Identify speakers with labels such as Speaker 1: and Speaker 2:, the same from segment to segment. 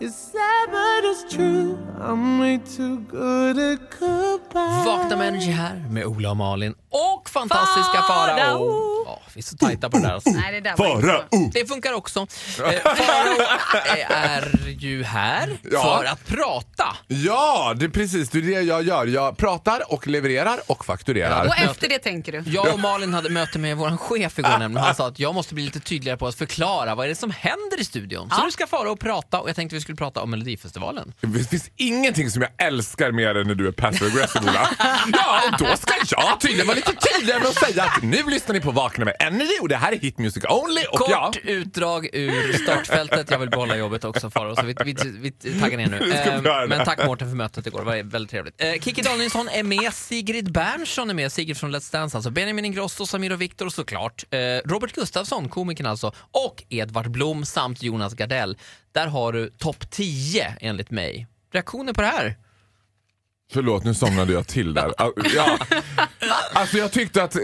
Speaker 1: It's sad, but it's true. I'm way too good at goodbye.
Speaker 2: Vakna med Energy här med Ola och Malin och fantastiska Farao. Ja, vi är så tajta på det där. Alltså.
Speaker 3: Nej, det där var inte bra.
Speaker 2: Det funkar också. Eh, Farao eh, är ju här
Speaker 4: Ja.
Speaker 2: för att prata.
Speaker 4: Ja, det är precis det, är det jag gör. Jag pratar och levererar och fakturerar.
Speaker 3: Och efter det tänker du?
Speaker 2: Jag och Malin hade möte med vår chef igår nämligen. Han sa att jag måste bli lite tydligare på att förklara vad är det som händer i studion. Så nu ska Farao prata och jag tänkte vi skulle prata om Melodifestivalen.
Speaker 4: Det finns ingenting som jag älskar mer än när du är passive aggressive Ola. Ja, och då ska jag tydligen vara lite tydligare med att säga att nu lyssnar ni på Vakna med Energy och det här är Hit Music Only och
Speaker 2: Kort
Speaker 4: ja,
Speaker 2: utdrag ur startfältet. Jag vill behålla jobbet också Farao, så vi, vi, vi taggar ner nu.
Speaker 4: Vi ska
Speaker 2: Eh,
Speaker 4: göra det.
Speaker 2: men tack Mårten för mötet igår, det var väldigt trevligt. Eh, Kikki Danielsson är med, Sigrid Bernson är med, Sigrid från Let's Dance alltså. Benjamin Ingrosso, Samir och Viktor såklart. Eh, Robert Gustafsson, komikern alltså, och Edvard Blom samt Jonas Gardell. Där har du topp 10 enligt mig. Reaktioner på det här?
Speaker 4: förlåt nu somnade jag till där. Ja. Alltså jag tyckte att eh,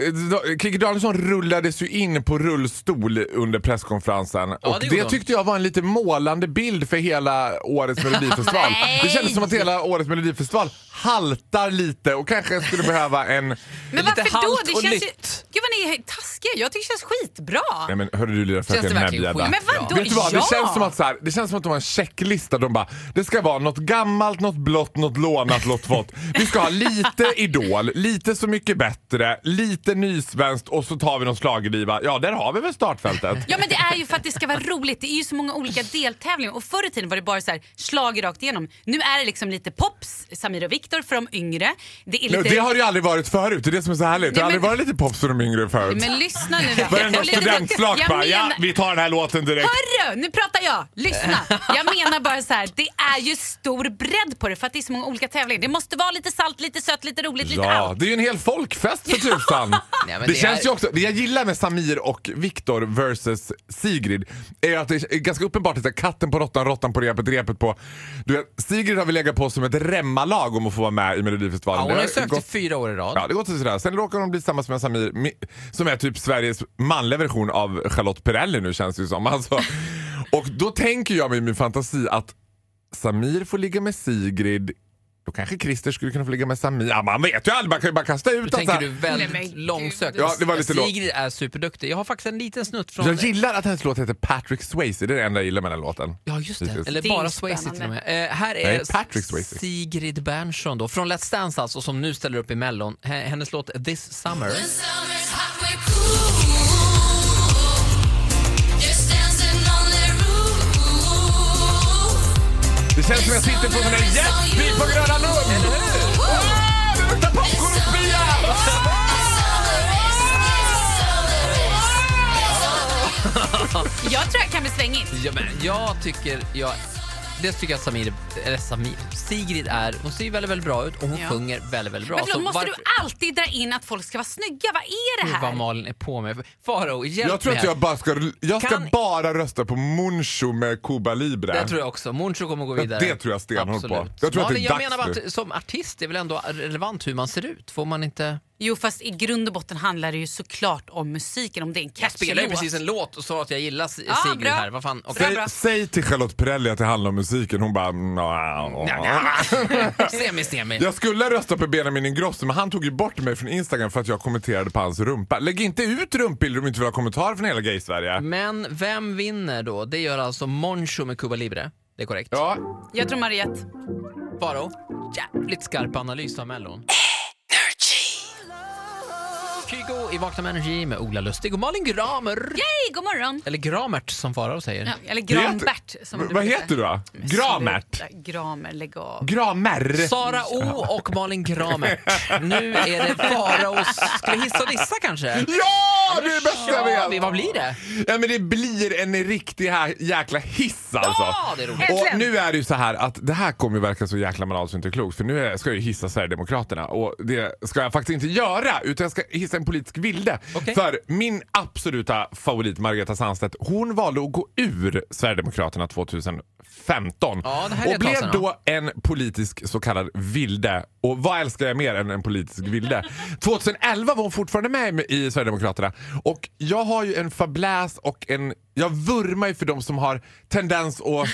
Speaker 4: Kikki Danielsson rullades ju in på rullstol under presskonferensen och
Speaker 2: det gjorde
Speaker 4: det
Speaker 2: hon.
Speaker 4: tyckte jag var en lite målande bild för hela årets melodifestival.
Speaker 3: Nej.
Speaker 4: Det kändes som att hela årets melodifestival haltar lite och kanske skulle behöva en
Speaker 3: Men
Speaker 2: lite
Speaker 3: varför då?
Speaker 2: halt
Speaker 3: Det
Speaker 2: och
Speaker 3: känns ju...
Speaker 2: nytt.
Speaker 3: Gud vad ni är taskiga. Jag tycker det känns skitbra.
Speaker 4: Nej men hörru du lilla fröken
Speaker 2: det verkligen
Speaker 4: Näbbgädda.
Speaker 2: skit?
Speaker 3: Men vadå?
Speaker 4: Vet du vad?
Speaker 3: Ja!
Speaker 4: Det känns som att så här, det känns som att de har en checklista. De bara, det ska vara något gammalt, något blått, något lånat, något vått. Vi ska ha lite Idol, lite Så mycket bättre, lite nysvenskt och så tar vi någon schlagerdriva. Ja, där har vi väl startfältet.
Speaker 3: Ja men det är ju för att det ska vara roligt. Det är ju så många olika deltävlingar. Och förr i tiden var det bara så här slag rakt igenom. Nu är det liksom lite pops, Samir och Viktor för de yngre. Det är
Speaker 4: Nej,
Speaker 3: lite...
Speaker 4: Det har det ju aldrig varit förut. Det är det som är så härligt. Det har
Speaker 3: Nej,
Speaker 4: aldrig
Speaker 3: men-
Speaker 4: varit lite pops för de yngre förut.
Speaker 3: Men lyssna nu.
Speaker 4: Varenda
Speaker 3: Och lite-
Speaker 4: studentflak
Speaker 3: Jag
Speaker 4: bara, ja
Speaker 3: menar-
Speaker 4: vi tar den här låten direkt.
Speaker 3: Hörru, nu pratar jag! Lyssna! Jag menar bara så här, det är ju stor bredd på det för att det är så många olika tävlingar. Det måste vara lite salt, lite sött, lite roligt, lite
Speaker 4: Ja,
Speaker 3: allt.
Speaker 4: det är ju en hel folkfest för tusan.
Speaker 2: Nej, men
Speaker 4: det,
Speaker 2: det
Speaker 4: känns
Speaker 2: är-
Speaker 4: ju också, det jag gillar med Samir och Viktor versus Sigrid är att det är ganska uppenbart att det är katten på råttan, råttan på repet, repet på... Du vet, Sigrid har väl legat på som ett remmalag om att få vara med i Melodifestivalen.
Speaker 2: Ja, hon
Speaker 4: Det
Speaker 2: har ju sökt i
Speaker 4: gått-
Speaker 2: fyra år i rad.
Speaker 4: Ja, det går till sådär. Sen råkar hon bli tillsammans med Samir mi- som är typ Sveriges manliga version av Charlotte Perrelli nu känns det ju som. Alltså, och då tänker jag mig i min fantasi att Samir får ligga med Sigrid då kanske Christer skulle kunna få ligga med Samir. Ja, man vet ju aldrig, man kan ju bara kasta ut
Speaker 2: Nu tänker
Speaker 4: att-
Speaker 2: du
Speaker 3: Nej,
Speaker 2: väldigt
Speaker 3: men
Speaker 2: långsökt.
Speaker 4: Ja, det var lite lågt.
Speaker 2: Sigrid är superduktig. Jag har faktiskt en liten snutt från...
Speaker 4: Jag gillar att hennes låt heter Patrick Swayze, det är det enda jag gillar med den låten.
Speaker 2: Ja, just det.
Speaker 4: Hittills.
Speaker 2: Eller
Speaker 3: Det är
Speaker 2: bara
Speaker 3: ju
Speaker 2: Swayze till och
Speaker 3: spännande.
Speaker 2: med. Eh, här är
Speaker 4: Nej, Patrick Swayze.
Speaker 2: Sigrid Bernson då, från Let's Dance alltså, som nu ställer upp i Mellon. H- Hennes låt This Summer.
Speaker 4: Det känns som jag sitter på en sån där jetbil på Gröna Lund! Eller hur? Det luktar popcorn och spya!
Speaker 3: Jag tror jag kan bli svängig.
Speaker 2: Ja, men jag tycker... Jag, det tycker jag Samir, eller Samir, Sigrid är. Hon ser ju väldigt, väldigt bra ut och hon
Speaker 3: Ja.
Speaker 2: sjunger väldigt, väldigt bra.
Speaker 3: Men förlåt,
Speaker 2: Så
Speaker 3: måste
Speaker 2: varför-
Speaker 3: du alltid dra in att folk ska vara snygga? Vad är det
Speaker 2: Gud, vad
Speaker 3: här?
Speaker 2: Malin är på mig. Farao, hjälp
Speaker 4: Jag tror
Speaker 2: mig
Speaker 4: att jag
Speaker 2: här.
Speaker 4: bara ska, jag ska
Speaker 2: Kan-
Speaker 4: bara rösta på Muncho med Cuba Libre.
Speaker 2: Det tror jag också. Moncho kommer gå vidare.
Speaker 4: Det tror jag stenhårt på.
Speaker 2: Absolut.
Speaker 4: Jag tror att det är
Speaker 2: Malin, jag
Speaker 4: dags
Speaker 2: menar bara
Speaker 4: nu.
Speaker 2: att som artist är väl ändå relevant hur man ser ut? Får man inte...
Speaker 3: Jo, fast i grund och botten handlar det ju såklart om musiken. Om det är en
Speaker 2: Jag
Speaker 3: catchy
Speaker 2: spelade ju
Speaker 3: låt.
Speaker 2: precis en låt och sa att jag gillar Si-
Speaker 3: Ja,
Speaker 2: Sigrid
Speaker 3: bra.
Speaker 2: här. Vad fan? okej.
Speaker 4: Säg, säg till Charlotte Perrelli att det handlar om musiken, hon bara... "Nja."
Speaker 2: Semi, semi.
Speaker 4: Jag skulle rösta på Benjamin Ingrosso men han tog ju bort mig från Instagram för att jag kommenterade på hans rumpa. Lägg inte ut rumpbilder om du inte vill ha kommentarer från hela
Speaker 3: Mm.
Speaker 4: gay-Sverige.
Speaker 2: Men vem vinner då? Det gör alltså Moncho med Cuba Libre. Det är korrekt.
Speaker 4: Ja,
Speaker 3: Jag tror Mariette.
Speaker 2: Faro, jävligt skarp analys av Mellon. Kygo i Vakna med Energy med Ola Lustig och Malin Gramer.
Speaker 3: Hej, god morgon!
Speaker 2: Eller Gramert som Farao säger.
Speaker 3: Ja, eller
Speaker 4: Det
Speaker 3: Grambert.
Speaker 4: heter-
Speaker 3: Som du
Speaker 4: Vad
Speaker 3: brukar
Speaker 4: heter du
Speaker 3: säga.
Speaker 4: då?
Speaker 3: Men
Speaker 4: Gramert?
Speaker 3: sluta, Gramer, lägg av.
Speaker 4: Gramer?
Speaker 2: Sara O och Malin Gramert. Nu är det Faraos... Ska vi hissa och dissa kanske?
Speaker 4: Ja! Ja, det är det bästa jag
Speaker 2: kör
Speaker 4: vet!
Speaker 2: vi. Vad blir det?
Speaker 4: Ja, men det blir en riktig här jäkla hiss alltså.
Speaker 2: Ja, det är roligt.
Speaker 4: Och
Speaker 3: Äntligen.
Speaker 4: nu är det ju så här att det här kommer ju verka så jäkla banalt så inte klokt för nu är- ska jag ju hissa Sverigedemokraterna och det ska jag faktiskt inte göra utan jag ska hissa en politisk vilde.
Speaker 2: Okej.
Speaker 4: För min absoluta favorit Margareta Sandstedt, hon valde att gå ur Sverigedemokraterna 2015
Speaker 2: Ja, det här är
Speaker 4: och
Speaker 2: ett tag
Speaker 4: blev
Speaker 2: sedan,
Speaker 4: då en politisk så kallad vilde. Och vad älskar jag mer än en politisk vilde? 2011 var hon fortfarande med i Sverigedemokraterna. Och jag har ju en fabläs och en... Jag vurmar ju för de som har tendens att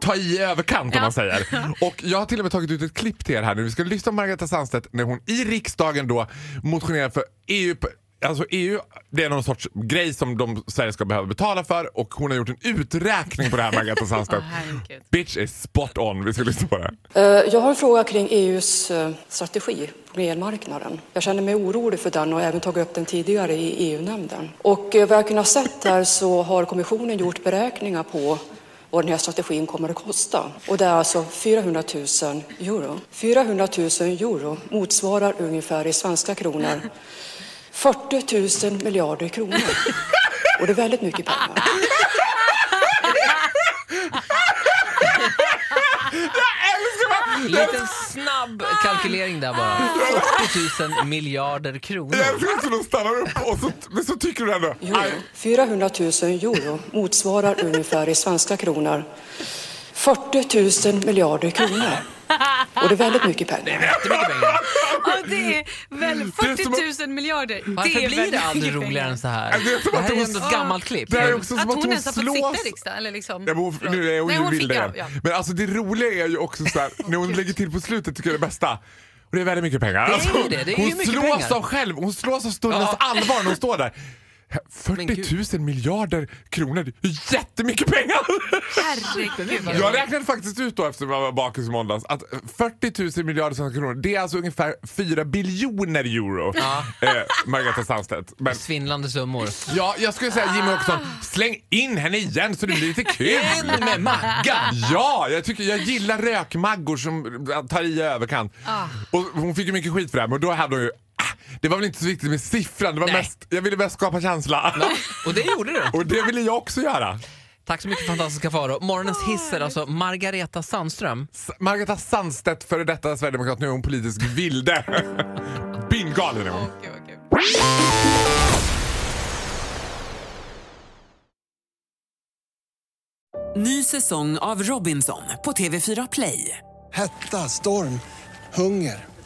Speaker 4: ta i överkant om
Speaker 3: Ja.
Speaker 4: man säger. Och jag har till och med tagit ut ett klipp till er här nu. Vi ska lyssna på Margareta Sandstedt när hon i riksdagen då motionerar för EU Alltså EU, det är någon sorts grej som de Sverige ska behöva betala för och hon har gjort en uträkning på det här Margareta Sandstedt.
Speaker 3: Åh, herregud.
Speaker 4: Bitch är spot on. Vi ska lyssna på det.
Speaker 5: Eh, Jag har en fråga kring EUs eh, strategi på elmarknaden. Jag känner mig orolig för den och har även tagit upp den tidigare i EU-nämnden. Och eh, vad jag kunnat sett här så har kommissionen gjort beräkningar på vad den här strategin kommer att kosta. Och det är alltså 400 000 euro. 400 000 euro motsvarar ungefär i svenska kronor 40 000 miljarder kronor. Och det är väldigt mycket pengar.
Speaker 2: Liten snabb kalkylering där bara. 40 000 miljarder kronor.
Speaker 4: Jag älskar också att de stannar upp och så, men så tycker du ändå...
Speaker 5: euro.
Speaker 4: Aj,
Speaker 5: 400 000 euro motsvarar ungefär i svenska kronor 40 000 miljarder kronor. Och det är väldigt mycket pengar.
Speaker 2: Jättemycket pengar.
Speaker 3: Ja, det är väl
Speaker 4: är som
Speaker 3: 40 000 miljarder.
Speaker 2: Varför
Speaker 3: det är
Speaker 2: blir det
Speaker 3: väldigt
Speaker 2: aldrig
Speaker 3: mycket
Speaker 2: roligare
Speaker 3: pengar.
Speaker 2: än så här?
Speaker 4: det är som
Speaker 2: Det
Speaker 4: att
Speaker 2: här är
Speaker 4: hon-
Speaker 2: ändå ett gammalt klipp.
Speaker 4: det här är också som
Speaker 3: Att hon, ens har fått sitta i
Speaker 4: slås.
Speaker 3: riksdagen? Eller liksom,
Speaker 4: Ja, men hon, nu är hon
Speaker 3: Nej,
Speaker 4: ju
Speaker 3: hon fick
Speaker 4: vild
Speaker 3: det,
Speaker 4: igen.
Speaker 3: ja.
Speaker 4: Men alltså det roliga är ju också så här, när hon lägger till på slutet tycker jag det är bästa. Och det är väldigt mycket pengar. Alltså,
Speaker 2: är ju det, det är ju
Speaker 4: hon
Speaker 2: mycket
Speaker 4: slås
Speaker 2: pengar.
Speaker 4: av själv, hon slås av stundens
Speaker 2: Ja.
Speaker 4: allvar när hon står där.
Speaker 2: Men gud.
Speaker 4: 40 000 miljarder kronor, det är jättemycket pengar!
Speaker 3: Herregud. vad
Speaker 4: Jag
Speaker 3: roligt.
Speaker 4: räknade faktiskt ut då efter att jag var bakis i måndags att 40 000 miljarder svenska kronor, det är alltså ungefär 4 biljoner euro. Eh, Margareta Sandstedt. Men,
Speaker 2: Svindlande summor.
Speaker 4: ja, jag skulle säga Jimmy Åkesson, släng in henne igen så det blir lite kul.
Speaker 2: In med Maggan!
Speaker 4: Ja, jag, tycker, jag gillar rökmaggor som tar i överkant.
Speaker 2: Ah.
Speaker 4: Och hon fick ju mycket skit för det här, men då hade hon ju "Ah, det var väl inte så viktigt med siffran, det var
Speaker 2: Nej.
Speaker 4: mest, jag ville mest skapa känsla.
Speaker 2: Och det gjorde du.
Speaker 4: Och det ville jag också göra.
Speaker 2: Tack så mycket fantastiska Faro. Morgonens hiss är alltså Margareta Sandström.
Speaker 4: S- Margareta Sandstedt, före detta sverigedemokrat, nu är hon politisk vilde. Bingalen är hon.
Speaker 3: Gud, vad kul.
Speaker 6: Ny säsong av Robinson på TV4 Play.
Speaker 7: Hetta, storm, hunger.